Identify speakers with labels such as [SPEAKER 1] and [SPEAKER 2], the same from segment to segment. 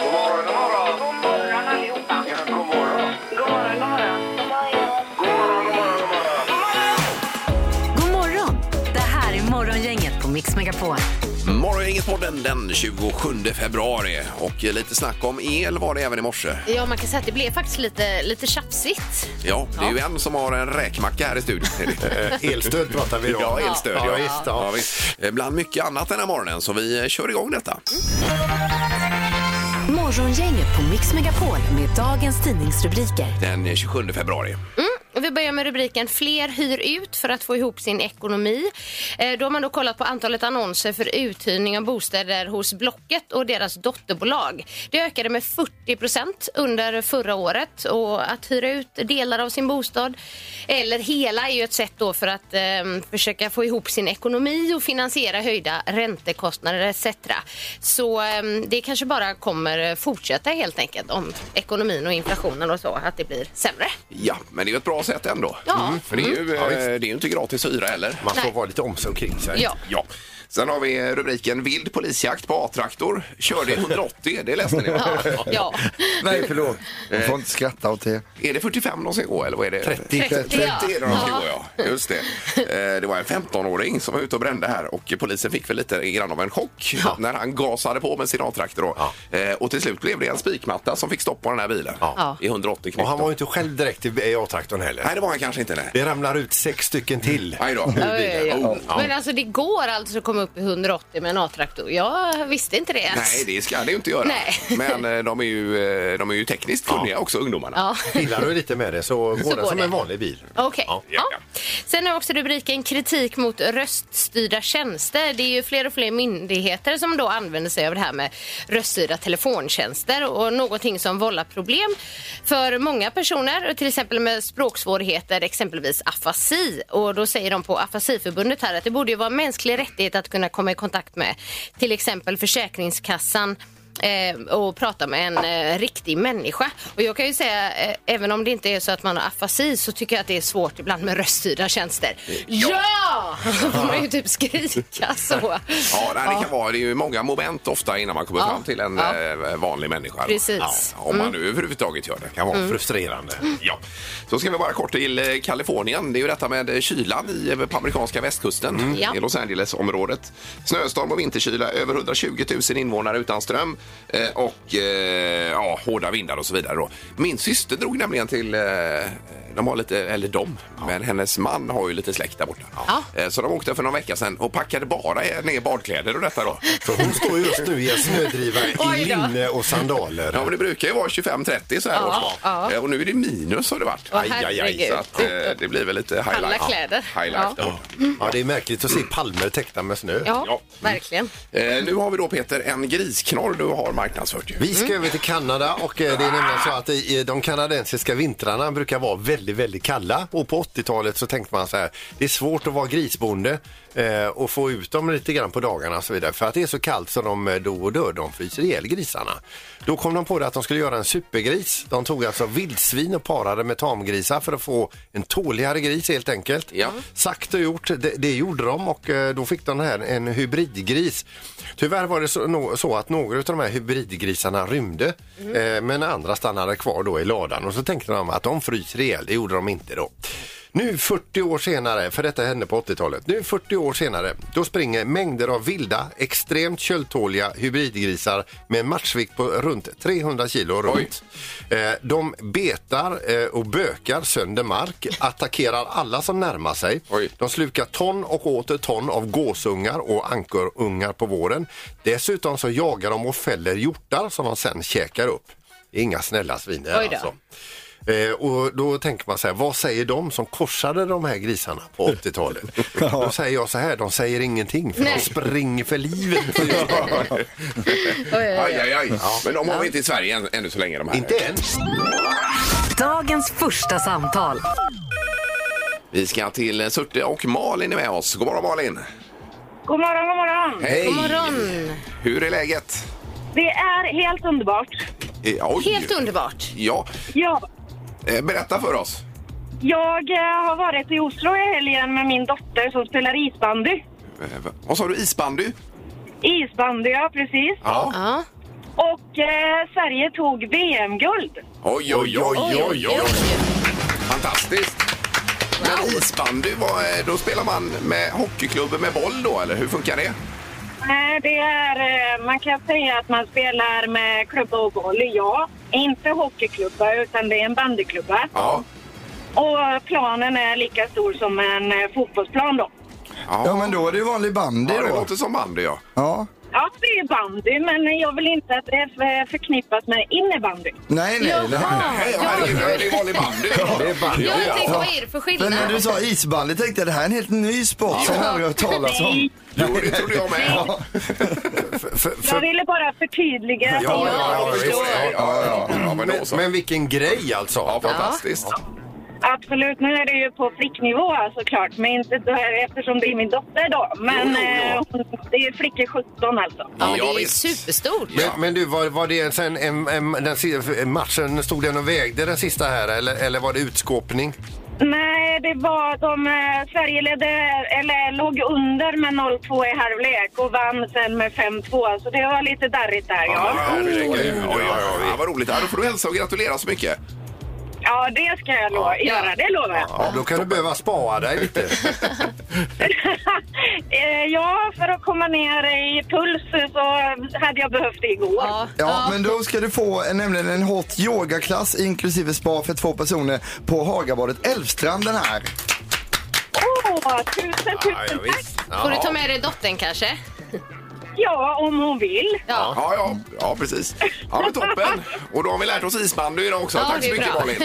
[SPEAKER 1] God morgon, god morgon.
[SPEAKER 2] God morgon allihopa.
[SPEAKER 1] Ja, god morgon.
[SPEAKER 2] God morgon, god morgon.
[SPEAKER 1] God morgon, god morgon, god morgon.
[SPEAKER 3] God morgon! Det här är Morgongänget på Mix Megapol.
[SPEAKER 4] Morgongänget-podden den 27 februari och lite snack om el var det även i morse.
[SPEAKER 5] Ja, man kan säga att det blev faktiskt lite, lite tjafsigt.
[SPEAKER 4] Ja, det är ju en som har en räkmacka här i studion.
[SPEAKER 6] Elstöd pratar vi om.
[SPEAKER 4] Ja, elstöd.
[SPEAKER 6] Eh, Ja, visst, ja.
[SPEAKER 4] Ja, visst. Eh, Bland mycket annat den här morgonen, så vi eh, kör igång detta.
[SPEAKER 3] Morgongänget på Mix Megapol med dagens tidningsrubriker.
[SPEAKER 4] Den 27 februari.
[SPEAKER 5] Och Vi börjar med rubriken Fler hyr ut för att få ihop sin ekonomi. Eh, Då har man då kollat på antalet annonser för uthyrning av bostäder hos Blocket och deras dotterbolag. Det ökade med 40 procent under förra året och att hyra ut delar av sin bostad eller hela är ju ett sätt då för att eh, försöka få ihop sin ekonomi och finansiera höjda räntekostnader etc. Så eh, det kanske bara kommer fortsätta helt enkelt om ekonomin och inflationen och så att det blir sämre.
[SPEAKER 4] Ja, men det är ju ett bra sätt ändå.
[SPEAKER 5] Ja. Mm.
[SPEAKER 4] För det är ju, eh,
[SPEAKER 6] Ja, visst.
[SPEAKER 4] det är ju inte gratis att hyra heller.
[SPEAKER 6] Man får
[SPEAKER 5] Nej.
[SPEAKER 6] vara lite omsorg kring sig.
[SPEAKER 5] Ja.
[SPEAKER 4] Ja. Sen har vi rubriken Vild polisjakt på A-traktor. Körde i 180, det läste ni va?
[SPEAKER 5] Ja.
[SPEAKER 7] Nej, förlåt. Du får inte skratta åt det.
[SPEAKER 4] Är det 45 de ska gå eller vad är det?
[SPEAKER 6] 30.
[SPEAKER 5] 30,
[SPEAKER 4] 30
[SPEAKER 5] ja.
[SPEAKER 4] är det de ska gå ja. Just det. Eh, Det var en 15-åring som var ute och brände här och polisen fick väl lite grann av en chock när han gasade på med sin A-traktor då. Eh, Och till slut blev det en spikmatta som fick stopp på den här bilen
[SPEAKER 5] Ja.
[SPEAKER 4] i 180
[SPEAKER 6] Och
[SPEAKER 4] knyck.
[SPEAKER 6] han
[SPEAKER 4] då.
[SPEAKER 6] var ju inte själv direkt i A-traktorn heller.
[SPEAKER 4] Nej, det var han kanske inte. Nej.
[SPEAKER 6] Det ramlar ut sex stycken till.
[SPEAKER 4] Aj då.
[SPEAKER 5] Oj, oj, oj.
[SPEAKER 4] Oh.
[SPEAKER 5] Men alltså det går alltså att komma upp i 180 med en A-traktor. Jag visste inte det ens.
[SPEAKER 4] Nej, det ska det ju inte göra.
[SPEAKER 5] Nej.
[SPEAKER 4] Men eh, de är ju, eh, de är ju tekniskt kunniga också, ungdomarna.
[SPEAKER 5] Ja.
[SPEAKER 6] Gillar du lite med det så går den
[SPEAKER 5] går
[SPEAKER 6] som
[SPEAKER 5] det.
[SPEAKER 6] en vanlig bil.
[SPEAKER 5] Okej.
[SPEAKER 6] Ja.
[SPEAKER 5] Ja. Sen har också rubriken kritik mot röststyrda tjänster. Det är ju fler och fler myndigheter som då använder sig av det här med röststyrda telefontjänster och någonting som vållar problem för många personer, till exempel med språksvårigheter, exempelvis afasi. Och då säger de på Afasiförbundet här att det borde ju vara en mänsklig rättighet att kunna komma i kontakt med till exempel Försäkringskassan eh, och prata med en eh, riktig människa. Och jag kan ju säga, eh, även om det inte är så att man har afasi så tycker jag att det är svårt ibland med röststyrda tjänster. Ja! Då får man ju typ skrika så.
[SPEAKER 4] Ja, nej, det kan vara. Det är ju många moment ofta innan man kommer
[SPEAKER 5] Ja.
[SPEAKER 4] fram till en
[SPEAKER 5] Ja.
[SPEAKER 4] eh, vanlig människa.
[SPEAKER 5] Precis. Mm.
[SPEAKER 4] Ja, om man nu överhuvudtaget gör det.
[SPEAKER 6] Kan vara frustrerande.
[SPEAKER 4] Ja. Så ska vi bara kort till eh, Kalifornien. Det är ju detta med eh, kylan i, eh, på amerikanska västkusten
[SPEAKER 5] Mm. Ja.
[SPEAKER 4] i Los Angeles-området. Snöstorm och vinterkyla, över 120 000 invånare utan ström eh, och eh, ja, hårda vindar och så vidare. Då. Min syster drog nämligen till eh, de har lite, eller de, men hennes man har ju lite släkt där borta.
[SPEAKER 5] Ja.
[SPEAKER 4] Eh, Så de åkte för någon vecka sedan och packade bara eh, ner badkläder och detta då.
[SPEAKER 6] För hon står just nu i en snödriva i
[SPEAKER 5] Oj då.
[SPEAKER 6] linne och sandaler.
[SPEAKER 4] Ja, men det brukar ju vara 25-30 så här
[SPEAKER 5] Ja,
[SPEAKER 4] års.
[SPEAKER 5] ja.
[SPEAKER 4] Eh, Och nu är det minus har det varit.
[SPEAKER 5] Åh, herregud.
[SPEAKER 4] Så att, eh, det blir väl lite highlight.
[SPEAKER 5] Alla kläder.
[SPEAKER 4] Ja, highlight
[SPEAKER 5] Ja.
[SPEAKER 4] där.
[SPEAKER 6] Ja, det är märkligt att se palmer täckta med snö.
[SPEAKER 5] Ja,
[SPEAKER 4] Ja.
[SPEAKER 5] verkligen.
[SPEAKER 4] Eh, nu har vi då Peter en grisknorr du har marknadsfört ju.
[SPEAKER 6] Vi ska över till Kanada och eh, det är nämligen så att i- i de kanadensiska vintrarna brukar vara väldigt, väldigt kalla och på 80-talet så tänkte man så här, det är svårt att vara grisbonde eh, och få ut dem lite grann på dagarna och så vidare för att det är så kallt så de eh, då och dör, de fryser ihjäl grisarna. Då kom de på det att de skulle göra en supergris. De tog alltså vildsvin och parade med tamgrisar för att få en tåligare gris helt enkelt.
[SPEAKER 4] Ja.
[SPEAKER 6] Sagt och gjort, det, det gjorde de och eh, då fick de här en hybridgris. Tyvärr var det så, no, så att några av de här hybridgrisarna rymde eh, men andra stannade kvar då i ladan och så tänkte de att de fryser ihjäl, det gjorde de inte då. Nu 40 år senare, eh, för detta hände på 80-talet, nu 40 år senare då springer mängder av vilda, extremt köldtåliga hybridgrisar med en matchvikt på runt 300 kilo runt. Eh, de betar eh, och bökar sönder mark, attackerar alla som närmar sig.
[SPEAKER 4] Oj.
[SPEAKER 6] De slukar ton och åter ton av gåsungar och ankorungar på våren. Dessutom så jagar de och fäller hjortar som de sen käkar upp. Det är inga snälla svin det här
[SPEAKER 5] Oj då.
[SPEAKER 6] alltså. Eh, och då tänker man så här, vad säger de som korsade de här grisarna på 80-talet? Då säger jag så här, de säger ingenting för
[SPEAKER 5] Nej.
[SPEAKER 6] de springer för livet.
[SPEAKER 5] Oj, oj,
[SPEAKER 4] Aj,
[SPEAKER 5] oj.
[SPEAKER 4] aj, aj. Men de har vi inte i Sverige än, ännu så länge de här.
[SPEAKER 6] Inte än.
[SPEAKER 3] Dagens första samtal.
[SPEAKER 4] Vi ska till eh, Surte och Malin är med oss. God morgon Malin!
[SPEAKER 2] God morgon, god morgon.
[SPEAKER 4] Hej!
[SPEAKER 5] God morgon.
[SPEAKER 4] Hur är läget?
[SPEAKER 2] Det är helt underbart.
[SPEAKER 4] Eh, Oj.
[SPEAKER 5] Helt underbart.
[SPEAKER 4] Ja,
[SPEAKER 2] Ja,
[SPEAKER 4] eh, berätta för oss.
[SPEAKER 2] jag eh, har varit i Oslo i helgen med min dotter som spelar isbandy.
[SPEAKER 4] Eh, Vad sa du, isbandy?
[SPEAKER 2] Isbandy, ja precis.
[SPEAKER 4] Ja.
[SPEAKER 5] Ja.
[SPEAKER 2] Och och eh, Sverige tog VM-guld.
[SPEAKER 4] Oj, oj, oj, oj, oj, oj.
[SPEAKER 5] oj.
[SPEAKER 4] Fantastiskt! Men isbandy, vad är- då spelar man med hockeyklubben med boll då, eller hur funkar det?
[SPEAKER 2] Eh, det är, eh, man kan säga att man spelar med klubba och boll, ja. Inte hockeyklubba, utan det är en bandyklubba.
[SPEAKER 4] Ja.
[SPEAKER 2] Och planen är lika stor som en eh, fotbollsplan då.
[SPEAKER 7] Ja, men då är det ju vanlig bandy
[SPEAKER 4] Ja, det
[SPEAKER 7] då.
[SPEAKER 4] låter som bandy, ja.
[SPEAKER 7] Ja.
[SPEAKER 2] Ja, det är bandy, men jag vill inte att det är förknippas med innebandy.
[SPEAKER 7] Nej, nej, nej.
[SPEAKER 5] Jaha,
[SPEAKER 4] Nej, ja,
[SPEAKER 5] ja.
[SPEAKER 4] herregud, det är vanlig bandy.
[SPEAKER 6] Det är bandy.
[SPEAKER 5] Ja, Jag tänkte, vad är det för
[SPEAKER 7] Men när du
[SPEAKER 5] skillnad?
[SPEAKER 7] sa isbandy tänkte jag det här är en helt ny sport som jag aldrig hört talas om.
[SPEAKER 2] Nej,
[SPEAKER 4] Jo, det trodde jag med.
[SPEAKER 6] För, för,
[SPEAKER 2] jag
[SPEAKER 6] för,
[SPEAKER 2] ville bara förtydliga.
[SPEAKER 6] Ja, ja, ja,
[SPEAKER 4] Jag förstår det. Ja, ja, ja. Ja, men då så.
[SPEAKER 6] men, men vilken grej alltså.
[SPEAKER 4] Ja, fantastiskt.
[SPEAKER 2] Absolut, nu är det ju på flicknivå alltså, såklart, men inte det här, eftersom det är min dotter då. Men
[SPEAKER 4] Jo, jo, jo.
[SPEAKER 2] eh, hon- det är flickor 17 alltså.
[SPEAKER 5] Ja,
[SPEAKER 4] Ja,
[SPEAKER 5] det är
[SPEAKER 4] visst.
[SPEAKER 5] superstort.
[SPEAKER 6] Men, men du, var, var det sen en, en, den, si- matchen, stod den och vägde den sista här eller, eller var det utskåpning?
[SPEAKER 2] Nej, det var de, eh, Sverige ledde, eller låg under med 0-2 i halvlek och vann sen med 5-2, så det var lite darrigt där
[SPEAKER 4] Ja,
[SPEAKER 2] ja.
[SPEAKER 4] herregud. Ja, ja, ja, ja, vad roligt. Ja, då får du hälsa och gratulera så mycket.
[SPEAKER 2] Ja, det ska jag lo- göra, det lovar jag.
[SPEAKER 6] Ja, då kan du behöva spara dig lite.
[SPEAKER 2] Eh, ja, för att komma ner i puls så hade jag behövt det igår.
[SPEAKER 5] Ja,
[SPEAKER 7] Ja, men då ska du få eh, nämligen en hot yogaklass inklusive spa för två personer på Hagabadet Älvstranden här.
[SPEAKER 2] Åh, tusen, tusen tack!
[SPEAKER 5] Får du ta med dig dottern kanske?
[SPEAKER 2] Ja, om hon vill.
[SPEAKER 5] Ja.
[SPEAKER 4] Ja, ja, ja precis. Ja, men toppen. Och då har vi lärt oss isbandy idag också.
[SPEAKER 5] Ja,
[SPEAKER 4] Tack
[SPEAKER 5] det
[SPEAKER 4] så
[SPEAKER 5] är
[SPEAKER 4] mycket,
[SPEAKER 5] bra.
[SPEAKER 4] Malin.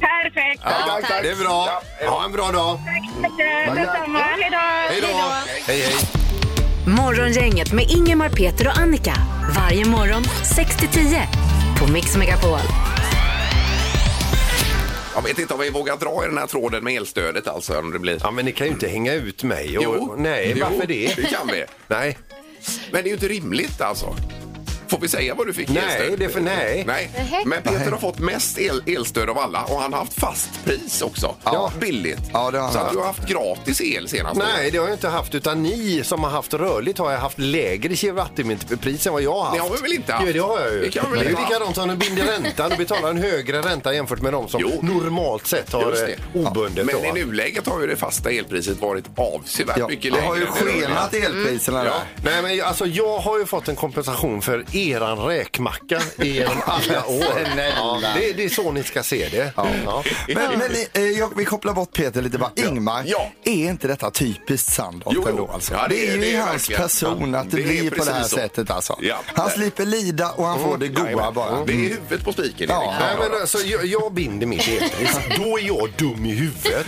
[SPEAKER 2] Perfekt.
[SPEAKER 4] tack, tack.
[SPEAKER 6] Det är bra.
[SPEAKER 4] Ja,
[SPEAKER 6] Ha en bra dag.
[SPEAKER 2] Tack så mycket. Detsamma. Hej då.
[SPEAKER 6] Hej då. Hej, hej.
[SPEAKER 3] Morgongänget med Ingemar, Peter och Annika. Varje morgon 6 till 10 på Mix Megapol.
[SPEAKER 4] Jag vet inte om vi vågar dra i den här tråden med elstödet alltså. Om det blir...
[SPEAKER 6] Ja, men ni kan ju inte hänga ut mig. Och, Nej,
[SPEAKER 4] Jo,
[SPEAKER 6] varför det?
[SPEAKER 4] Det kan vi.
[SPEAKER 6] Nej,
[SPEAKER 4] Men det är ju inte rimligt alltså. Får vi säga vad du fick i
[SPEAKER 6] Nej,
[SPEAKER 4] elstöd?
[SPEAKER 6] det är för- nej.
[SPEAKER 4] nej.
[SPEAKER 5] Nej.
[SPEAKER 4] Men Peter har fått mest el, elstöd av alla och han har haft fast pris också.
[SPEAKER 7] Ja.
[SPEAKER 4] Billigt.
[SPEAKER 7] Ja, det har han
[SPEAKER 4] Så att
[SPEAKER 7] haft.
[SPEAKER 4] du har haft gratis el senast.
[SPEAKER 6] nej, det har jag inte haft. Utan ni som har haft rörligt har jag haft lägre kilowattimpris än vad jag har haft.
[SPEAKER 4] Det har vi väl inte haft?
[SPEAKER 6] Jo, det har jag ju.
[SPEAKER 4] Det kan vi väl
[SPEAKER 6] är ju
[SPEAKER 4] inte ha
[SPEAKER 6] likadant som du binder räntan. Du betalar en högre ränta jämfört med de som
[SPEAKER 4] Jo.
[SPEAKER 6] normalt sett
[SPEAKER 4] Just
[SPEAKER 6] har
[SPEAKER 4] det.
[SPEAKER 6] eh, obundet. då,
[SPEAKER 4] Men i
[SPEAKER 6] va?
[SPEAKER 4] nuläget har ju det fasta elpriset varit avsevärt
[SPEAKER 7] Ja,
[SPEAKER 4] mycket
[SPEAKER 7] det
[SPEAKER 4] lägre.
[SPEAKER 7] har ju
[SPEAKER 4] än det rörliga.
[SPEAKER 7] skenat elpriserna
[SPEAKER 4] Ja.
[SPEAKER 7] där.
[SPEAKER 6] Nej, men jag- alltså, jag har ju fått en kompensation för eran räkmacka genom alla år. Ja, det, det är så ni ska se det. Ja.
[SPEAKER 7] Men, men eh, jag, vi kopplar bort Peter lite bara. Ingmar,
[SPEAKER 4] Ja.
[SPEAKER 7] är inte detta typiskt Sandholt
[SPEAKER 4] Jo, jo.
[SPEAKER 7] ändå? Alltså?
[SPEAKER 4] Ja, det
[SPEAKER 7] det är
[SPEAKER 4] är-
[SPEAKER 7] ju
[SPEAKER 4] det är
[SPEAKER 7] hans
[SPEAKER 4] verkligen.
[SPEAKER 7] person att det,
[SPEAKER 4] Det är
[SPEAKER 7] blir på det här
[SPEAKER 4] precis så.
[SPEAKER 7] sättet alltså.
[SPEAKER 4] Ja. Mm.
[SPEAKER 7] Han slipper lida och han får det goa
[SPEAKER 4] Jajamän.
[SPEAKER 7] bara.
[SPEAKER 4] Det är huvudet på spiken.
[SPEAKER 7] Ja.
[SPEAKER 4] Erik.
[SPEAKER 6] Nej, men alltså, jag, jag binder mitt elpris. Då är jag dum i huvudet.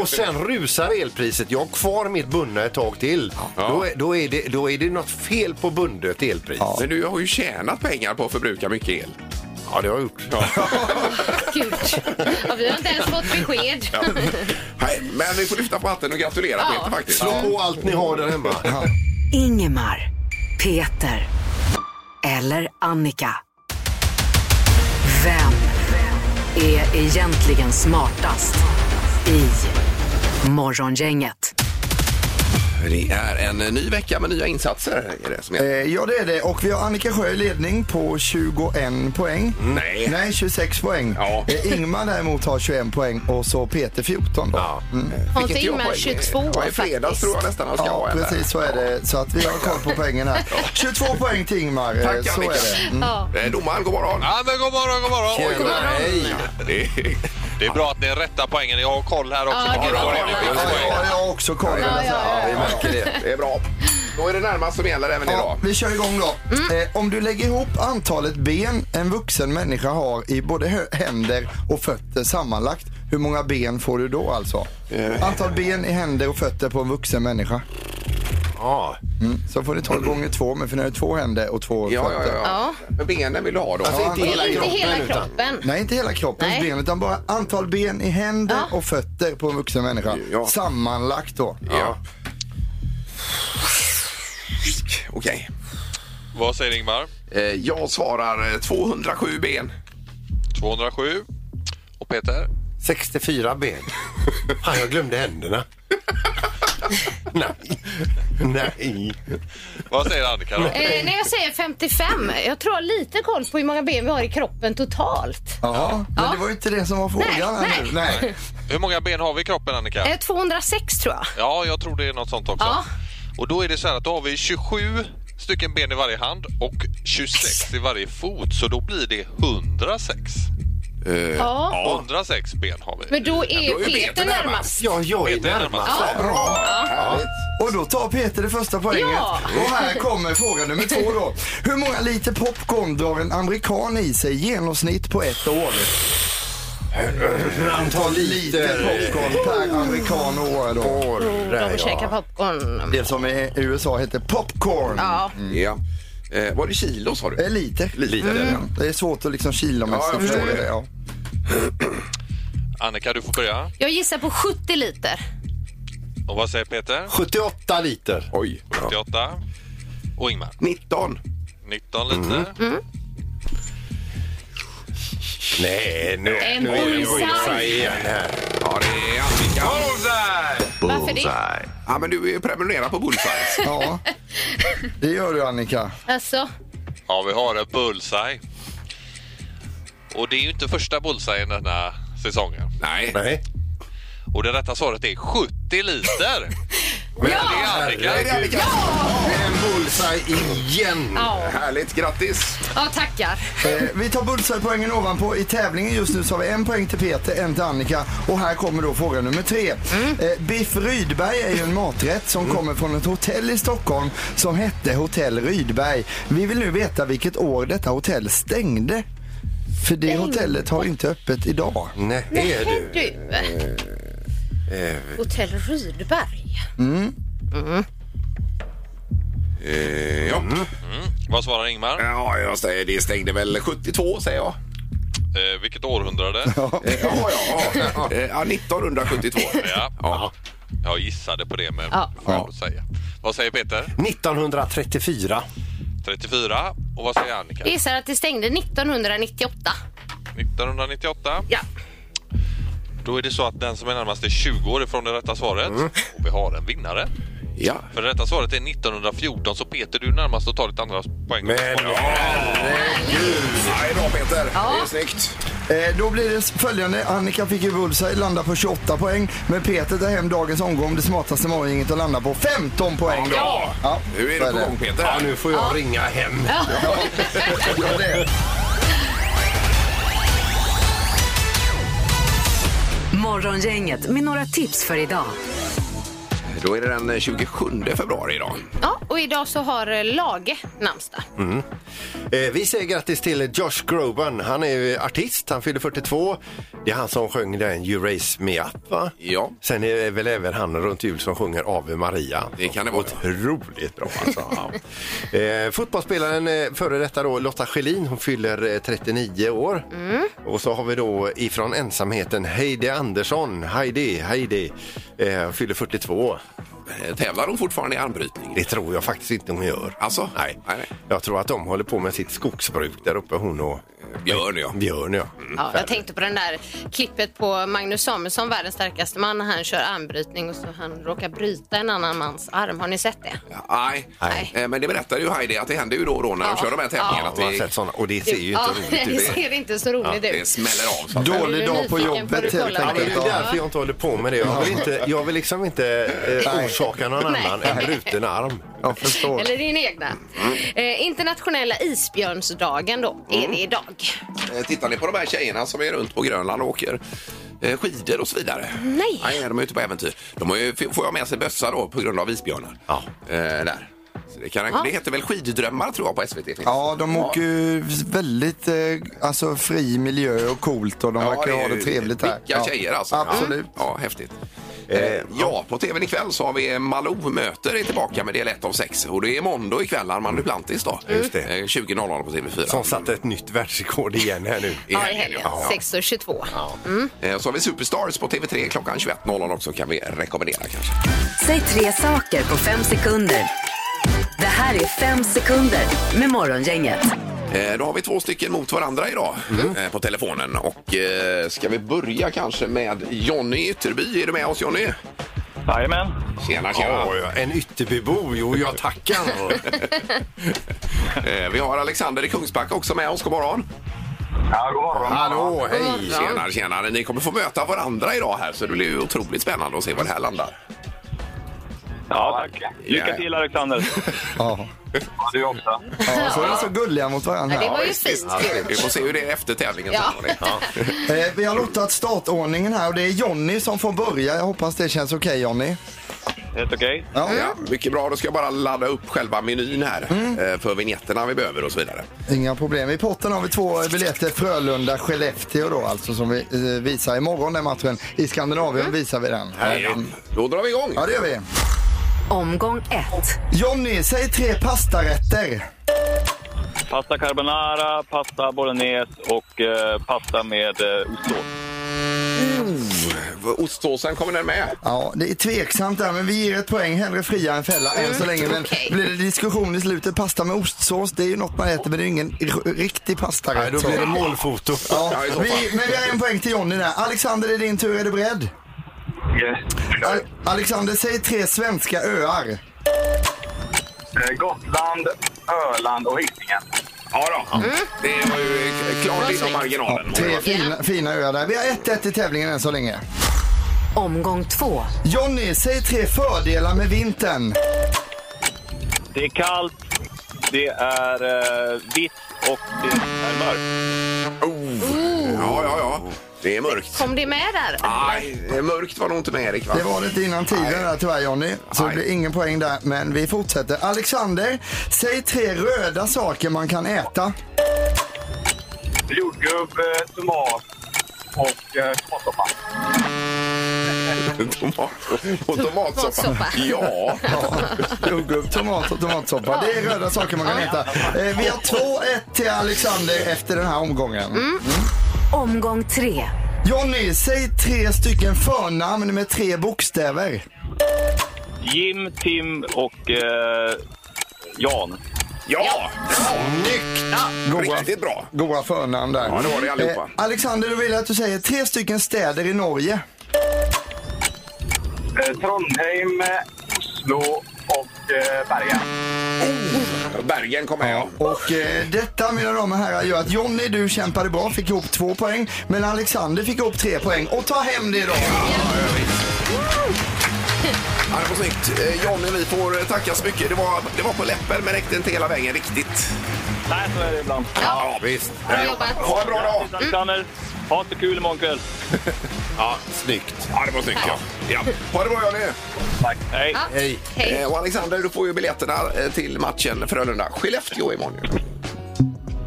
[SPEAKER 6] Och sen rusar elpriset. Jag har kvar mitt bundna ett tag till. Då, är, då, är det, då är det något fel på bundet elpris. Ja,
[SPEAKER 4] Men du har ju tjänat pengar på att förbruka mycket el.
[SPEAKER 6] det har jag gjort.
[SPEAKER 5] Gud. Ja, vi har inte ens fått besked.
[SPEAKER 4] Nej, men vi får lyfta på hatten och gratulera
[SPEAKER 5] Ja.
[SPEAKER 4] Peter faktiskt.
[SPEAKER 6] Slå på allt ni har där hemma.
[SPEAKER 3] Ingemar, Peter eller Annika. Vem är egentligen smartast i Morgongänget?
[SPEAKER 4] Det är en ny vecka med nya insatser. Är det som
[SPEAKER 7] Eh,
[SPEAKER 4] är.
[SPEAKER 7] ja, det är det. Och vi har Annika Sjö i ledning på 21 poäng.
[SPEAKER 4] Nej.
[SPEAKER 7] Nej, 26 poäng.
[SPEAKER 4] Ja.
[SPEAKER 7] Eh, Ingmar däremot har 21 poäng och så Peter 14 då.
[SPEAKER 4] Ja. Eh,
[SPEAKER 5] Hans
[SPEAKER 4] Vilket jag
[SPEAKER 5] Ingmar
[SPEAKER 4] poäng-
[SPEAKER 5] 22
[SPEAKER 4] Ja, I fredags
[SPEAKER 5] faktiskt.
[SPEAKER 4] tror jag nästan han ska
[SPEAKER 7] Mm. Ja,
[SPEAKER 4] ha en där.
[SPEAKER 7] precis så är det. Så att vi har koll på poängen här. 22 poäng till Ingmar. eh,
[SPEAKER 4] Tack
[SPEAKER 7] så är
[SPEAKER 4] Annika.
[SPEAKER 7] det.
[SPEAKER 5] Ja.
[SPEAKER 4] Eh, Domaren, god morgon.
[SPEAKER 8] Ja, men god morgon, god morgon. Oj, god morgon.
[SPEAKER 6] Nej.
[SPEAKER 4] Det är-
[SPEAKER 8] Det är bra att ni rättar poängen. Jag har koll här också.
[SPEAKER 5] Ja,
[SPEAKER 8] på
[SPEAKER 5] du
[SPEAKER 8] vad
[SPEAKER 5] har
[SPEAKER 8] det är
[SPEAKER 5] koll.
[SPEAKER 8] nu.
[SPEAKER 7] Ja, jag har- jag har också koll.
[SPEAKER 5] Ja, ja, ja.
[SPEAKER 6] Vi märker det.
[SPEAKER 4] Det är bra. Då är det närmast som gäller även
[SPEAKER 7] Ja,
[SPEAKER 4] idag.
[SPEAKER 7] vi kör igång då.
[SPEAKER 5] Mm.
[SPEAKER 7] Eh, om du lägger ihop antalet ben en vuxen människa har i både hö- händer och fötter sammanlagt, hur många ben får du då alltså?
[SPEAKER 4] Eh.
[SPEAKER 7] Antal ben i händer och fötter på en vuxen människa.
[SPEAKER 6] Ja.
[SPEAKER 7] Så får ni ta gånger två, men för ni har ju två händer och två
[SPEAKER 4] Ja, ja,
[SPEAKER 7] fötter.
[SPEAKER 4] ja.
[SPEAKER 5] Ja.
[SPEAKER 4] Men benen vill du ha då?
[SPEAKER 6] Alltså, inte hela
[SPEAKER 5] Inte
[SPEAKER 6] kroppen,
[SPEAKER 5] hela
[SPEAKER 6] utan-
[SPEAKER 5] kroppen.
[SPEAKER 7] Nej, inte hela kroppens
[SPEAKER 5] Nej.
[SPEAKER 7] ben, utan bara antal ben i händer
[SPEAKER 5] Ja.
[SPEAKER 7] och fötter på en vuxen människa.
[SPEAKER 4] Ja.
[SPEAKER 7] Sammanlagt då.
[SPEAKER 4] Ja. Okej.
[SPEAKER 8] Vad säger Ingmar?
[SPEAKER 4] Eh, Jag svarar eh, 207 ben.
[SPEAKER 8] 207. Och Peter?
[SPEAKER 6] 64 ben. Fan, jag glömde händerna. Nej. Nej.
[SPEAKER 8] Vad säger Annika då?
[SPEAKER 5] Eh, när jag säger 55, jag tror jag har lite koll på hur många ben vi har i kroppen totalt.
[SPEAKER 7] Ja, men det var ju inte det som var frågan.
[SPEAKER 5] Nej,
[SPEAKER 7] här nu. nej.
[SPEAKER 8] Hur många ben har vi i kroppen Annika?
[SPEAKER 5] Eh, 206 tror
[SPEAKER 6] Eh,
[SPEAKER 5] jag.
[SPEAKER 8] Ja, jag tror det är något sånt också.
[SPEAKER 5] Ja.
[SPEAKER 8] Och då är det så här att då har vi 27 stycken ben i varje hand och 26 i varje fot. Så då blir det 106.
[SPEAKER 5] Ja.
[SPEAKER 8] 106 ben har vi.
[SPEAKER 5] Men då
[SPEAKER 4] då
[SPEAKER 5] är
[SPEAKER 4] är
[SPEAKER 5] Peter
[SPEAKER 4] Peter
[SPEAKER 5] närmast.
[SPEAKER 6] Ja, jag är
[SPEAKER 8] Peter är närmast.
[SPEAKER 6] närmast.
[SPEAKER 5] Ja.
[SPEAKER 7] Och då tar Peter det första poänget.
[SPEAKER 5] Ja.
[SPEAKER 7] Och här kommer fråga nummer två då. Hur många liter popcorn drar en amerikan i sig i genomsnitt på ett år?
[SPEAKER 6] Antal
[SPEAKER 7] Liter
[SPEAKER 6] liter.
[SPEAKER 7] popcorn per amerikan och år då.
[SPEAKER 6] Porr,
[SPEAKER 5] De käkar
[SPEAKER 6] ja.
[SPEAKER 5] popcorn.
[SPEAKER 7] Det som i USA heter popcorn.
[SPEAKER 5] Ja.
[SPEAKER 4] Ja. Eh, var det kilo sa
[SPEAKER 7] Mm. Eh,
[SPEAKER 4] du?
[SPEAKER 7] Liter.
[SPEAKER 4] Liter, ja.
[SPEAKER 7] Det är svårt att liksom
[SPEAKER 4] Ja,
[SPEAKER 7] kilomässigt
[SPEAKER 4] jag förstår det.
[SPEAKER 7] Ja.
[SPEAKER 8] Annika, du får börja.
[SPEAKER 5] Jag gissar på 70 liter.
[SPEAKER 8] Och vad säger Peter?
[SPEAKER 6] 78 liter.
[SPEAKER 4] Oj. Ja.
[SPEAKER 8] 78. Och Ingmar?
[SPEAKER 4] 19.
[SPEAKER 8] 19 liter.
[SPEAKER 4] Mm.
[SPEAKER 6] Nej, nu,
[SPEAKER 5] En
[SPEAKER 6] nu är det
[SPEAKER 5] bullseye.
[SPEAKER 6] bullseye igen här.
[SPEAKER 4] Ja, det är Annika.
[SPEAKER 5] Varför det?
[SPEAKER 4] Ja, men du är prenumererad på Bullseyes.
[SPEAKER 7] ja. Det gör du Annika.
[SPEAKER 5] Alltså,
[SPEAKER 8] Ja, vi har en bullseye. Och det är ju inte första bullseyen denna säsongen.
[SPEAKER 4] Nej.
[SPEAKER 6] Nej.
[SPEAKER 8] Och det rätta svaret är 70 liter!
[SPEAKER 6] Men
[SPEAKER 5] Ja!
[SPEAKER 8] Det är
[SPEAKER 4] Nej, det
[SPEAKER 8] Annika.
[SPEAKER 4] är Annika.
[SPEAKER 6] En bullseye igen.
[SPEAKER 5] ja.
[SPEAKER 4] Härligt, grattis!
[SPEAKER 5] ja tackar.
[SPEAKER 7] Eh, vi tar bullseye-poängen ovanpå. I tävlingen just nu så har vi en poäng till Peter, en till Annika. Och här kommer då fråga nummer tre. Eh, Biff Rydberg är ju en maträtt som kommer från ett hotell i Stockholm som hette Hotell Rydberg. Vi vill nu veta vilket år detta hotell stängde. För det hotellet har ju inte öppet idag.
[SPEAKER 6] Nej, är
[SPEAKER 5] Hej
[SPEAKER 6] du. Eh,
[SPEAKER 5] du. Hotell Rydberg.
[SPEAKER 4] Eh, ja.
[SPEAKER 8] Vad svarar Ingmar?
[SPEAKER 4] ja, jag säger det stängde väl 72 säger jag.
[SPEAKER 8] Eh, vilket århundrade?
[SPEAKER 4] Eh, ja, ja, ja. Eh, ja, 1972.
[SPEAKER 8] Ja.
[SPEAKER 4] Ja.
[SPEAKER 8] Jag gissade på det, men
[SPEAKER 5] Ja.
[SPEAKER 8] får jag säga. Vad säger Peter?
[SPEAKER 6] 1934.
[SPEAKER 8] 34. Och vad säger Annika?
[SPEAKER 5] Jag gissar att det stängde 1998.
[SPEAKER 8] 1998.
[SPEAKER 5] Ja.
[SPEAKER 8] Då är det så att den som är närmast är 20 år ifrån det rätta svaret.
[SPEAKER 4] Mm.
[SPEAKER 8] Och vi har en vinnare.
[SPEAKER 4] ja.
[SPEAKER 8] För det rätta svaret är 1914, så Peter du är närmast att ta ditt andra poäng.
[SPEAKER 6] Men
[SPEAKER 4] Ja, det är bra Peter.
[SPEAKER 5] Ja.
[SPEAKER 4] Det är snyggt.
[SPEAKER 7] Eh, då blir det s- följande. Annika fick ju bullseye, landar på 28 poäng. Men Peter tar hem dagens omgång, det smartaste morgongänget, och landar på 15 poäng. då.
[SPEAKER 4] Ja.
[SPEAKER 7] Ja,
[SPEAKER 4] Nu är
[SPEAKER 7] så
[SPEAKER 4] det på gång Peter.
[SPEAKER 6] ja, nu får jag ringa hem.
[SPEAKER 7] Ja, det är det.
[SPEAKER 3] Morgongänget med några tips för idag.
[SPEAKER 4] Då är det den eh, 27 februari idag.
[SPEAKER 5] Ja, och idag så har eh, Lage namnsdag.
[SPEAKER 6] Eh, vi säger grattis till Josh Groban. Han är ju artist, han fyller 42. Det är han som sjöng den You Raise Me Up, va?
[SPEAKER 4] Ja.
[SPEAKER 6] Sen är det väl även han runt jul som sjunger Ave Maria.
[SPEAKER 4] Det kan det vara.
[SPEAKER 6] Otroligt bra alltså. ja. eh, fotbollsspelaren eh, före detta då, Lotta Schelin, hon fyller eh, 39 år. Och så har vi då ifrån ensamheten Heidi Andersson, Heidi, Heidi, eh, fyller 42.
[SPEAKER 4] Eh, Tävlar de fortfarande i armbrytning?
[SPEAKER 6] Det tror jag faktiskt inte hon gör.
[SPEAKER 4] Alltså?
[SPEAKER 6] Nej.
[SPEAKER 4] Nej, nej.
[SPEAKER 6] Jag tror att de håller på med sitt skogsbruk där uppe, hon och eh,
[SPEAKER 4] Björn ja.
[SPEAKER 6] Björn. Ja.
[SPEAKER 5] Ja, jag tänkte på den där klippet på Magnus Samuelsson, världens starkaste man, när han kör armbrytning och så han råkar bryta en annan mans arm. Har ni sett det?
[SPEAKER 4] Ja, Nej.
[SPEAKER 6] Nej.
[SPEAKER 4] Eh, Men det berättar ju Heidi att det händer ju då och då när de
[SPEAKER 5] Ja.
[SPEAKER 4] kör de här tävlingarna.
[SPEAKER 6] Ja,
[SPEAKER 4] att
[SPEAKER 6] man har
[SPEAKER 4] det,
[SPEAKER 6] sett såna, och det ser ju inte
[SPEAKER 5] ja,
[SPEAKER 6] roligt
[SPEAKER 5] Det
[SPEAKER 6] ut.
[SPEAKER 5] ser inte så roligt
[SPEAKER 4] det
[SPEAKER 5] ut.
[SPEAKER 4] smäller av. Så. att-
[SPEAKER 5] Är du
[SPEAKER 7] Dålig dag på
[SPEAKER 5] nyfiken får du
[SPEAKER 7] jobbet helt
[SPEAKER 5] kolla.
[SPEAKER 6] Ja, men
[SPEAKER 7] enkelt.
[SPEAKER 6] det är
[SPEAKER 7] Ja.
[SPEAKER 6] därför jag inte håller på med det. Jag vill, inte, jag vill liksom inte eh,
[SPEAKER 7] Nej.
[SPEAKER 6] orsaka någon annan en bruten arm.
[SPEAKER 7] Jag förstår.
[SPEAKER 5] Eller din egna. Eh, internationella isbjörnsdagen då, är det idag?
[SPEAKER 4] Eh, Tittar ni på de här tjejerna som är runt på Grönland och åker eh, skidor och så vidare?
[SPEAKER 5] Nej.
[SPEAKER 4] Nej, de är ute på äventyr. De har ju, får jag med sig bössa då på grund av isbjörnar.
[SPEAKER 6] Ja.
[SPEAKER 4] Eh, där. Så det, kan, det heter väl skiddrömmar tror jag på SVT. finns.
[SPEAKER 7] Ja, de åker ju väldigt eh, alltså, fri miljö och coolt och de verkar
[SPEAKER 4] är
[SPEAKER 7] ha
[SPEAKER 4] ju
[SPEAKER 7] det trevligt här.
[SPEAKER 4] Vilka
[SPEAKER 7] Ja.
[SPEAKER 4] tjejer alltså.
[SPEAKER 7] Absolut.
[SPEAKER 4] Ja, ja häftigt. Eh, ja, på tvn ikväll så har vi Malou möter är tillbaka med del 1 av 6 och det är måndag ikväll, Armand Duplantis då.
[SPEAKER 6] Just det.
[SPEAKER 4] Eh, 20.00 på TV4.
[SPEAKER 6] Som satte ett nytt världsrekord igen här nu.
[SPEAKER 5] Ja, i helgen. 6.22.
[SPEAKER 4] Eh, Så har vi Superstars på TV3 klockan 21.00 också kan vi rekommendera kanske.
[SPEAKER 3] Säg tre saker på fem sekunder. Det här är fem sekunder med Morgongänget.
[SPEAKER 4] Eh, Då har vi två stycken mot varandra idag eh, på telefonen. Och eh, ska vi börja kanske med Jonny Ytterby. Är du med oss Jonny?
[SPEAKER 9] Jajamän.
[SPEAKER 4] Tjena, tjena.
[SPEAKER 6] Ja, ja, en Ytterbybo. Jo, jag tackar.
[SPEAKER 4] Eh, Vi har Alexander i Kungsbacka också med oss. God morgon.
[SPEAKER 9] Ja, god morgon.
[SPEAKER 6] Hallå, hej.
[SPEAKER 5] Ja.
[SPEAKER 4] Tjenare, tjenare. Ni kommer få möta varandra idag här så det blir ju otroligt spännande att se var det här landar.
[SPEAKER 9] Ja, tack. Lycka till, Alexander.
[SPEAKER 7] Ja.
[SPEAKER 9] Ja, du också.
[SPEAKER 7] ja, så är de så gulliga mot varandra.
[SPEAKER 5] Ja, det var ju
[SPEAKER 4] visst,
[SPEAKER 5] fint.
[SPEAKER 4] visst. Vi får se hur det är efter tävlingen.
[SPEAKER 5] Ja.
[SPEAKER 4] sen, hörni.
[SPEAKER 7] Eh, vi har lottat startordningen här och det är Jonny som får börja. Jag hoppas det känns okej Jonny.
[SPEAKER 9] Helt okej.
[SPEAKER 7] Ja.
[SPEAKER 5] Mm.
[SPEAKER 4] Ja, mycket bra. Då ska jag bara ladda upp själva menyn här eh, för vignetterna vi behöver och så vidare.
[SPEAKER 7] Inga problem. I potten har vi två biljetter Frölunda-Skellefteå då alltså som vi eh, visar imorgon den matchen. I Skandinavien
[SPEAKER 4] Mm.
[SPEAKER 7] visar vi den.
[SPEAKER 4] Ja. Då drar vi igång.
[SPEAKER 7] Ja det gör vi.
[SPEAKER 3] Omgång ett.
[SPEAKER 7] Jonny, säg tre pastarätter.
[SPEAKER 9] Pasta carbonara, pasta bolognese och eh, pasta med eh, ostsås.
[SPEAKER 4] Ostsåsen, kommer den med?
[SPEAKER 7] Ja, det är tveksamt där men vi ger ett poäng. Hellre fria än fälla än så länge. Men
[SPEAKER 5] okej.
[SPEAKER 7] blir det diskussion i slutet, pasta med ostsås, det är ju något man äter men det är ju ingen r- riktig pastarätt.
[SPEAKER 6] Nej, då
[SPEAKER 7] så.
[SPEAKER 6] blir det målfoto.
[SPEAKER 7] Ja,
[SPEAKER 4] Ja, i så fall.
[SPEAKER 7] vi, men vi har en poäng till Jonny där. Alexander, det är din tur. Är du beredd? Al- Alexander, säg tre svenska öar.
[SPEAKER 9] Eh, Gotland, Öland och Hisingen.
[SPEAKER 4] Ja då. Det var ju eh, klart inom
[SPEAKER 5] snyggt.
[SPEAKER 4] marginalen.
[SPEAKER 7] Tre fina, fina öar där. Vi har 1-1 i tävlingen än så länge.
[SPEAKER 3] Omgång två.
[SPEAKER 7] Jonny, säg tre fördelar med vintern.
[SPEAKER 9] Det är kallt, det är eh, vitt och det är mörkt.
[SPEAKER 4] Oh. Ja, ja, ja. Det är mörkt.
[SPEAKER 5] Kom det med där?
[SPEAKER 4] Nej, det är mörkt var nog inte med Erik va?
[SPEAKER 7] Det var lite innan tiden där tyvärr Jonny. Så det
[SPEAKER 4] Nej.
[SPEAKER 7] blir ingen poäng där. Men vi fortsätter. Alexander, säg tre röda saker man kan äta.
[SPEAKER 9] Jordgubb, eh, tomat och eh, tomatsoppa.
[SPEAKER 4] Tomat och tomatsoppa.
[SPEAKER 5] Tomatsoppa.
[SPEAKER 4] Ja.
[SPEAKER 7] Jordgubb, tomat och tomatsoppa. Det är röda saker man kan äta. Eh, Vi har 2-1 till Alexander efter den här omgången.
[SPEAKER 3] Omgång tre.
[SPEAKER 7] Jonny, säg tre stycken förnamn med tre bokstäver.
[SPEAKER 9] Jim, Tim och eh, Jan.
[SPEAKER 4] Ja.
[SPEAKER 7] Goa,
[SPEAKER 4] Riktigt bra.
[SPEAKER 7] goa förnamn där. Eh,
[SPEAKER 4] Ja, det var det allihopa.
[SPEAKER 7] Alexander, då vill jag att du säger tre stycken städer i Norge.
[SPEAKER 9] Eh, Trondheim, Oslo och eh, Berga.
[SPEAKER 4] Bergen kom med. Ja.
[SPEAKER 7] Och eh, detta, mina damer och herrar, gör att Jonny, du kämpade bra, fick ihop två poäng. Men Alexander fick ihop tre poäng. Och ta hem det då!
[SPEAKER 4] Ja, det var snyggt. Eh, Johnny, vi får eh, tacka så mycket. Det var, det var på läppen men räckte inte hela vägen riktigt.
[SPEAKER 9] Nej, så är det ibland.
[SPEAKER 4] Ja, visst.
[SPEAKER 5] Bra jobbat.
[SPEAKER 4] Ha en bra dag.
[SPEAKER 9] Alexander, ha det kul imorgon kväll.
[SPEAKER 4] Ja, snyggt. Ja, det var snyggt. Ja. Ja. Ha det bra, Johnny.
[SPEAKER 9] Tack. Hej.
[SPEAKER 4] Hej.
[SPEAKER 5] Hej.
[SPEAKER 4] Eh, Och Alexander, du får ju biljetterna eh, till matchen Frölunda-Skellefteå imorgon. ju.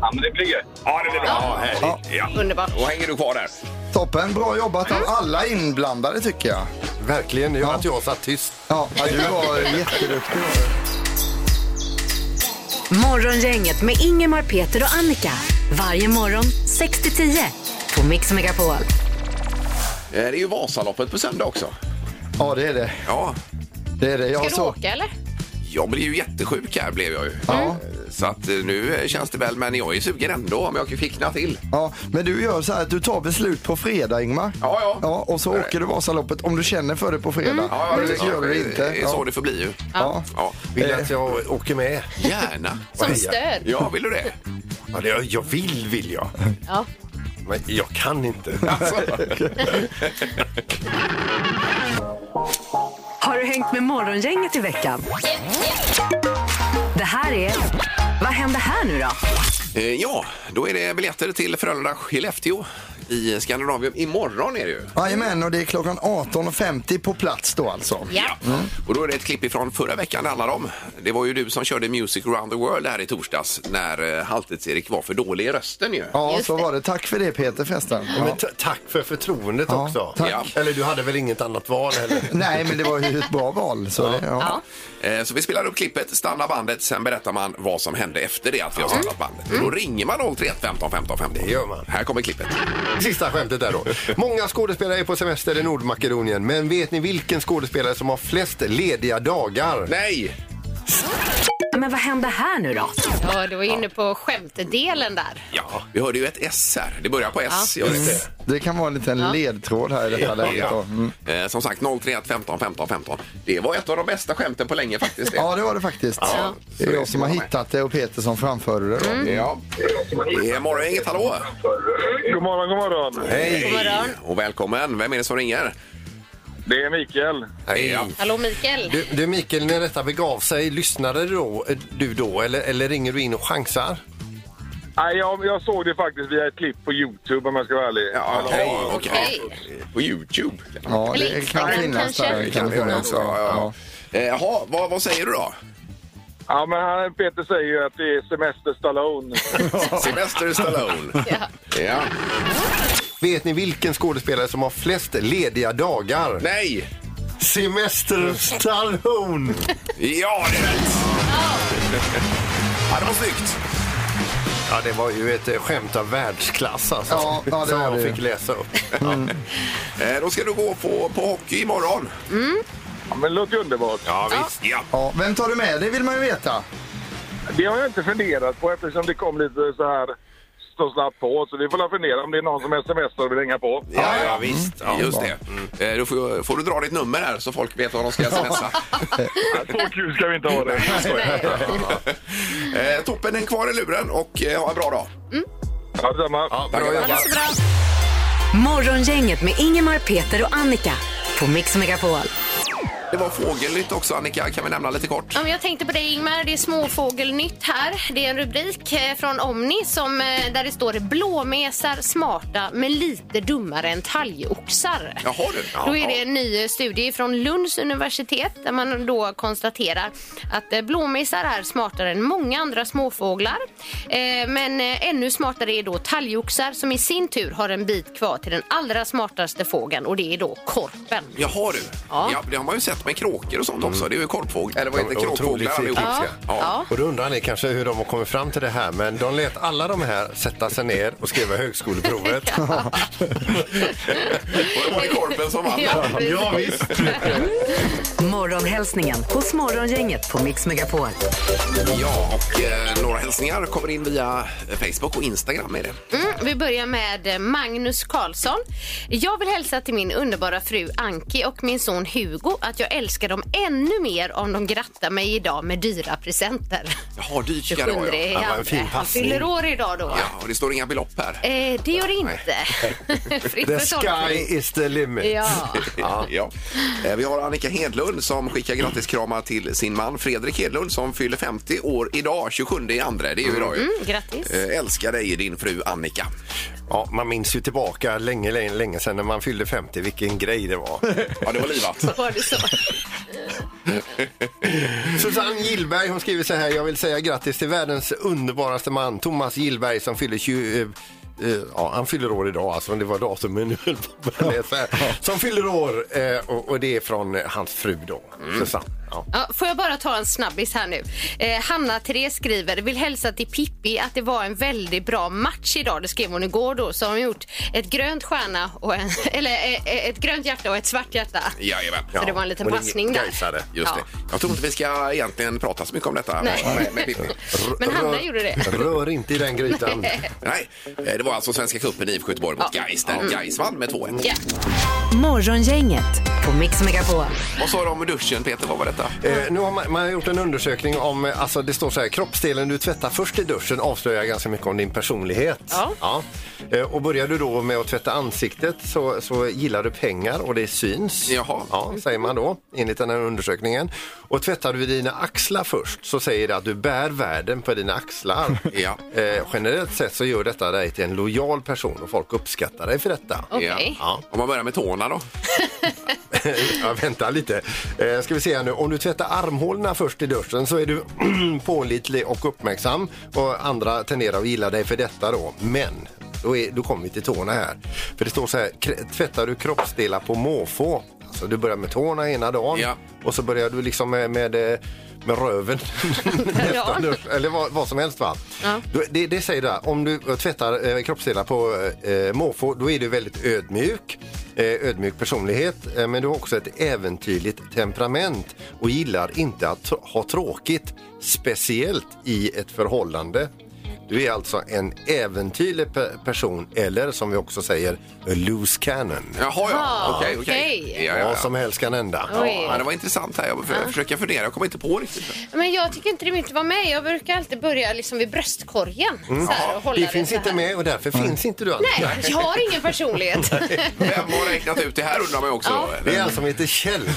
[SPEAKER 9] Ja, men det blir gött.
[SPEAKER 4] Ja, det blir bra. Ja, härligt. ja.
[SPEAKER 5] Underbart.
[SPEAKER 4] Och hänger du kvar där?
[SPEAKER 7] Toppen, bra jobbat av alla inblandade tycker jag.
[SPEAKER 6] Verkligen, det gör att jag satt tyst.
[SPEAKER 7] Ja, ja, du var jätteduktig.
[SPEAKER 3] Morgongänget med Ingemar, Peter och Annika. Varje morgon 6 till 10 på Mix Megapol.
[SPEAKER 4] Eh, Det är ju Vasaloppet på söndag också.
[SPEAKER 7] Ja, det är det.
[SPEAKER 4] Ja,
[SPEAKER 7] det, är det. Jag
[SPEAKER 5] Ska
[SPEAKER 7] har
[SPEAKER 5] du
[SPEAKER 7] så-
[SPEAKER 5] åka eller?
[SPEAKER 4] jag blev ju jättesjuk här blev jag ju.
[SPEAKER 7] Ja.
[SPEAKER 4] Eh, Så att eh, nu eh, känns det väl, men jag är sugen ändå om jag kan fickna till.
[SPEAKER 7] Ja, men du gör så här att du tar beslut på fredag, Ingmar.
[SPEAKER 4] Ja, ja.
[SPEAKER 7] Ja, och så
[SPEAKER 4] Nej.
[SPEAKER 7] åker du Vasaloppet om du känner för det på fredag.
[SPEAKER 5] Mm.
[SPEAKER 4] Ja, ja,
[SPEAKER 7] men det
[SPEAKER 4] ja, eh,
[SPEAKER 7] gör du inte.
[SPEAKER 4] Det är så
[SPEAKER 7] Ja.
[SPEAKER 4] det får bli ju.
[SPEAKER 7] Ja.
[SPEAKER 4] Ja, Eh,
[SPEAKER 6] Vill att
[SPEAKER 7] Eh.
[SPEAKER 6] jag åker med?
[SPEAKER 4] gärna.
[SPEAKER 5] Som stöd?
[SPEAKER 4] Ja, vill du det?
[SPEAKER 6] Ja, det, jag vill, vill jag.
[SPEAKER 5] Ja.
[SPEAKER 6] Men jag kan inte.
[SPEAKER 3] Har du hängt med Morgongänget i veckan? Det här är... Vad händer här nu då?
[SPEAKER 4] Eh, Ja, då är det biljetter till Frölunda-Skellefteå i Skandinavien. Imorgon är det ju.
[SPEAKER 7] Jajamän, och det är klockan 18.50 på plats då alltså.
[SPEAKER 5] Ja.
[SPEAKER 4] Och då är det ett klipp ifrån förra veckan det handlar om. Det var ju du som körde Music around the world här i torsdags när eh, Halvtids-Erik var för dålig i rösten ju.
[SPEAKER 7] Ja,
[SPEAKER 5] Just
[SPEAKER 7] så
[SPEAKER 5] det.
[SPEAKER 7] var det. Tack för det Peter förresten.
[SPEAKER 6] Ja,
[SPEAKER 7] Ja.
[SPEAKER 6] Men t- tack för förtroendet
[SPEAKER 7] Ja,
[SPEAKER 6] också.
[SPEAKER 7] tack.
[SPEAKER 4] Ja.
[SPEAKER 6] Eller du hade väl inget annat val heller?
[SPEAKER 7] Nej, men det var ju ett bra val. Så det, ja.
[SPEAKER 5] Ja.
[SPEAKER 4] Eh, Så vi spelar upp klippet, stannar bandet, sen berättar man vad som hände efter det att vi har stannat bandet. Och då ringer man 031 15 15 15.
[SPEAKER 6] Mm. Det gör man.
[SPEAKER 4] Här kommer klippet.
[SPEAKER 6] Sista skämtet där då. Många skådespelare är på semester i Nordmakedonien, men vet ni vilken skådespelare som har flest lediga dagar?
[SPEAKER 4] Nej!
[SPEAKER 3] Ja, Men vad hände här nu då?
[SPEAKER 5] Ja, du var inne på skämtdelen där.
[SPEAKER 4] Ja, vi hörde ju ett S här. Det börjar på S. Gör det inte?
[SPEAKER 6] Mm.
[SPEAKER 7] Det kan vara en liten ledtråd här i detta läget. Då. Mm.
[SPEAKER 4] Eh, som sagt, 031 15 15 15. Det var ett av de bästa skämten på länge faktiskt. det.
[SPEAKER 7] Ja, det var det faktiskt. Det
[SPEAKER 4] Så
[SPEAKER 7] är
[SPEAKER 4] det
[SPEAKER 7] jag
[SPEAKER 4] ska
[SPEAKER 7] som har
[SPEAKER 4] vara med.
[SPEAKER 7] hittat det och Peter som framförde det. Då.
[SPEAKER 5] Mm.
[SPEAKER 4] Ja. Det är Morgongänget, hallå!
[SPEAKER 9] God morgon, god morgon.
[SPEAKER 4] Hej!
[SPEAKER 5] morgon.
[SPEAKER 4] Och välkommen! Vem är det som ringer?
[SPEAKER 9] Det är Mikael.
[SPEAKER 6] Hej.
[SPEAKER 4] Ja.
[SPEAKER 5] Hallå Mikael.
[SPEAKER 6] Du, du Mikael, när detta begav sig, lyssnade du då, eh, du då eller, eller ringer du in och chansar?
[SPEAKER 9] Nej, jag, jag såg det faktiskt via ett klipp på Youtube om jag ska vara ärlig.
[SPEAKER 4] Ja, okej.
[SPEAKER 5] Okej.
[SPEAKER 4] okej. På Youtube.
[SPEAKER 7] Ja,
[SPEAKER 5] Eller
[SPEAKER 7] det kan
[SPEAKER 5] Instagram
[SPEAKER 7] finnas
[SPEAKER 5] kanske.
[SPEAKER 7] där.
[SPEAKER 5] Det
[SPEAKER 7] Det
[SPEAKER 4] kan
[SPEAKER 7] kan
[SPEAKER 4] vi göra
[SPEAKER 7] finnas
[SPEAKER 4] också.
[SPEAKER 7] där.
[SPEAKER 4] Ja, ja.
[SPEAKER 7] Ja.
[SPEAKER 4] Eh, Jaha, vad, vad säger du då?
[SPEAKER 9] Ja, men han, Peter säger ju att det är Semester Stallone.
[SPEAKER 4] Sylvester Stallone.
[SPEAKER 5] Ja.
[SPEAKER 4] ja.
[SPEAKER 6] Vet ni vilken skådespelare som har flest lediga dagar?
[SPEAKER 4] Nej!
[SPEAKER 6] Semester Stallone!
[SPEAKER 4] Ja, det är rätt! Ja, det var snyggt.
[SPEAKER 6] Ja, det var ju ett eh, skämt av världsklass alltså,
[SPEAKER 7] Ja, ja, det
[SPEAKER 6] som
[SPEAKER 7] var
[SPEAKER 6] jag
[SPEAKER 7] det ju. Mm.
[SPEAKER 6] fick läsa upp.
[SPEAKER 4] Eh, Då ska du gå på, på hockey imorgon.
[SPEAKER 9] Ja, men det låter ju underbart.
[SPEAKER 4] Ja, visst. Ja.
[SPEAKER 7] Ja, vem tar du med? Det vill man ju veta.
[SPEAKER 9] Det har jag inte funderat på eftersom det kom lite så här så snabbt på. Så vi får väl fundera om det är någon som smsar och vill hänga på.
[SPEAKER 4] Ja, ja, visst. Mm. Just det. Eh, Då får, får du dra ditt nummer här så folk vet vad de ska smsa.
[SPEAKER 9] Så kul ska vi inte ha det.
[SPEAKER 4] Eh, Toppen, den kvar i luren och eh, ha en bra dag.
[SPEAKER 9] Ja, detsamma.
[SPEAKER 4] Tackar, tackar.
[SPEAKER 3] Morgongänget med Ingemar, Peter och Annika på Mix Megapol.
[SPEAKER 4] Det var fågelnytt också, Annika. Kan vi nämna lite kort?
[SPEAKER 5] Ja, men jag tänkte på dig Ingmar, det är småfågelnytt här. Det är en rubrik eh, från Omni som, eh, där det står blåmesar smarta men lite dummare än talgoxar.
[SPEAKER 4] Jaha, du. Ja,
[SPEAKER 5] Då är det en ny eh, studie från Lunds universitet där man då konstaterar att eh, blåmesar är smartare än många andra småfåglar. Eh, Men eh, ännu smartare är då talgoxar som i sin tur har en bit kvar till den allra smartaste fågeln och det är då korpen.
[SPEAKER 4] Jaha du. Ja.
[SPEAKER 5] Ja.
[SPEAKER 4] det har man ju sett med kråkor och sånt också. Det är ju korpfågel. Mm. Eller vad heter
[SPEAKER 6] De
[SPEAKER 4] det?
[SPEAKER 6] är
[SPEAKER 4] Kråkfåglar
[SPEAKER 6] otroligt
[SPEAKER 4] allihop.
[SPEAKER 6] flitiga.
[SPEAKER 4] Ja.
[SPEAKER 6] Och då undrar ni kanske hur de har kommit fram till det här, men de lät alla de här sätta sig ner och skriva högskoleprovet.
[SPEAKER 4] Och det var det korpen som vann.
[SPEAKER 5] Ja, precis. Ja,
[SPEAKER 4] visst.
[SPEAKER 3] Morgonhälsningen hos Morgongänget på Mix Megapol.
[SPEAKER 4] Ja, och eh, några hälsningar kommer in via eh, Facebook och Instagram. Är det.
[SPEAKER 5] Mm, vi börjar med Magnus Karlsson. Jag vill hälsa till min underbara fru Anki och min son Hugo att jag älskar dem ännu mer om de grattar mig idag med dyra presenter.
[SPEAKER 4] Jaha, dykare
[SPEAKER 5] 27
[SPEAKER 4] var jag.
[SPEAKER 6] Ja, vad en fin
[SPEAKER 5] i Han
[SPEAKER 6] passning.
[SPEAKER 5] fyller år idag då.
[SPEAKER 4] Ja, och det står inga belopp här.
[SPEAKER 5] Eh, det gör det inte. Fritt
[SPEAKER 6] The
[SPEAKER 5] för tolkning.
[SPEAKER 6] sky is the limit.
[SPEAKER 5] Ja.
[SPEAKER 4] Ja. Eh, Vi har Annika Hedlund som skickar gratiskramar till sin man Fredrik Hedlund som fyller 50 år idag, 27 i andra. Det är ju idag ju.
[SPEAKER 5] Mm, grattis.
[SPEAKER 4] Eh, Älskar dig din fru Annika.
[SPEAKER 6] Ja, man minns ju tillbaka länge, länge, länge sedan när man fyllde 50, vilken grej det var.
[SPEAKER 4] Ja, det var livat.
[SPEAKER 5] Var det så?
[SPEAKER 6] Susanne Gillberg hon skriver så här. Jag vill säga grattis till världens underbaraste man, Thomas Gillberg som fyller 20... eh, eh, ja, han fyller år idag, alltså. men Det var datumen nu höll på att börja läsa här. Som fyller år, eh, och, och det är från eh, hans fru då, Susanne. Ja.
[SPEAKER 5] Ja, får jag bara ta en snabbis här nu? Eh, Hanna Therese skriver, vill hälsa till Pippi att det var en väldigt bra match idag. Det skrev hon igår då. Så har hon gjort ett grönt stjärna och en, eller eh, eh, ett grönt hjärta och ett svart hjärta.
[SPEAKER 4] Jajamän.
[SPEAKER 5] Så det var en liten
[SPEAKER 6] hon är
[SPEAKER 5] passning där.
[SPEAKER 6] gaisare,
[SPEAKER 4] Just
[SPEAKER 5] Ja.
[SPEAKER 4] det. Jag tror inte vi ska egentligen prata så mycket om detta.
[SPEAKER 5] Nej.
[SPEAKER 4] Med, med Pippi.
[SPEAKER 5] Men Hanna
[SPEAKER 6] Rör-
[SPEAKER 5] gjorde det.
[SPEAKER 6] Rör inte i den grytan.
[SPEAKER 4] Nej, eh, det var alltså Svenska cupen i IFK Göteborg mot Gais där Gais vann med 2-1.
[SPEAKER 5] Mm. Ja.
[SPEAKER 3] Morgongänget på Mix Megapol.
[SPEAKER 4] Vad sa du om duschen Peter? Vad var detta?
[SPEAKER 6] Eh, nu har man, man har gjort en undersökning om, eh, alltså det står så här, kroppsdelen du tvättar först i duschen avslöjar ganska mycket om din personlighet.
[SPEAKER 5] Ja.
[SPEAKER 6] Eh, och börjar du då med att tvätta ansiktet så, så gillar du pengar och det syns.
[SPEAKER 4] Jaha.
[SPEAKER 6] Ja, säger man då, enligt den här undersökningen. Och tvättar du dina axlar först så säger det att du bär världen på dina axlar.
[SPEAKER 4] Ja.
[SPEAKER 6] eh, generellt sett så gör detta dig till en lojal person och folk uppskattar dig för detta.
[SPEAKER 5] Okej.
[SPEAKER 4] Ja. Om man börjar med tårna då?
[SPEAKER 6] Ja, vänta lite. Eh, ska vi se här nu. Om du tvättar armhålorna först i duschen så är du pålitlig och uppmärksam och andra tenderar att gilla dig för detta då. Men då, är, då kommer vi till tårna här. För det står så här, kr- tvättar du kroppsdelar på måfå? Alltså du börjar med tårna ena dagen
[SPEAKER 4] Ja.
[SPEAKER 6] och så börjar du liksom med, med eh, med röven. Nästa dusch, eller vad, vad som helst. va? Då- Det, det säger du, om du tvättar eh, kroppsdelar på eh, måfå då är du väldigt ödmjuk. eh, ödmjuk personlighet eh, men du har också ett äventyrligt temperament och gillar inte att tr- ha tråkigt, speciellt i ett förhållande. Du är alltså en äventyrlig pe- person eller som vi också säger, a loose cannon.
[SPEAKER 4] Jaha, ja.
[SPEAKER 5] Ah,
[SPEAKER 4] Okej, okej. Ja,
[SPEAKER 5] okej.
[SPEAKER 4] ja,
[SPEAKER 6] Vad
[SPEAKER 4] ja.
[SPEAKER 6] som helst kan hända.
[SPEAKER 5] Oj.
[SPEAKER 4] Ja, det var intressant här. Jag för- försöker fundera. Jag kommer inte på riktigt.
[SPEAKER 5] Men jag tycker inte det mycket vara med. Jag brukar alltid börja liksom vid bröstkorgen. Så här, och hålla
[SPEAKER 6] Mm. Det finns
[SPEAKER 5] så här.
[SPEAKER 6] inte med och därför finns inte du Annika.
[SPEAKER 5] Nej, jag har ingen personlighet.
[SPEAKER 4] Vem har räknat ut det här undrar man ju också.
[SPEAKER 5] Ja.
[SPEAKER 4] då.
[SPEAKER 6] Det är en som heter Kjell.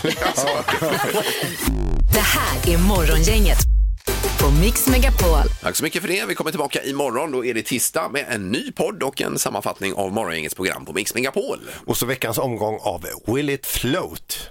[SPEAKER 3] Det här är Morgongänget på Mix Megapol.
[SPEAKER 4] Tack så mycket för det. Vi kommer tillbaka imorgon. Då är det tisdag med en ny podd och en sammanfattning av morgongängets program på Mix Megapol.
[SPEAKER 6] Och så veckans omgång av Will it float?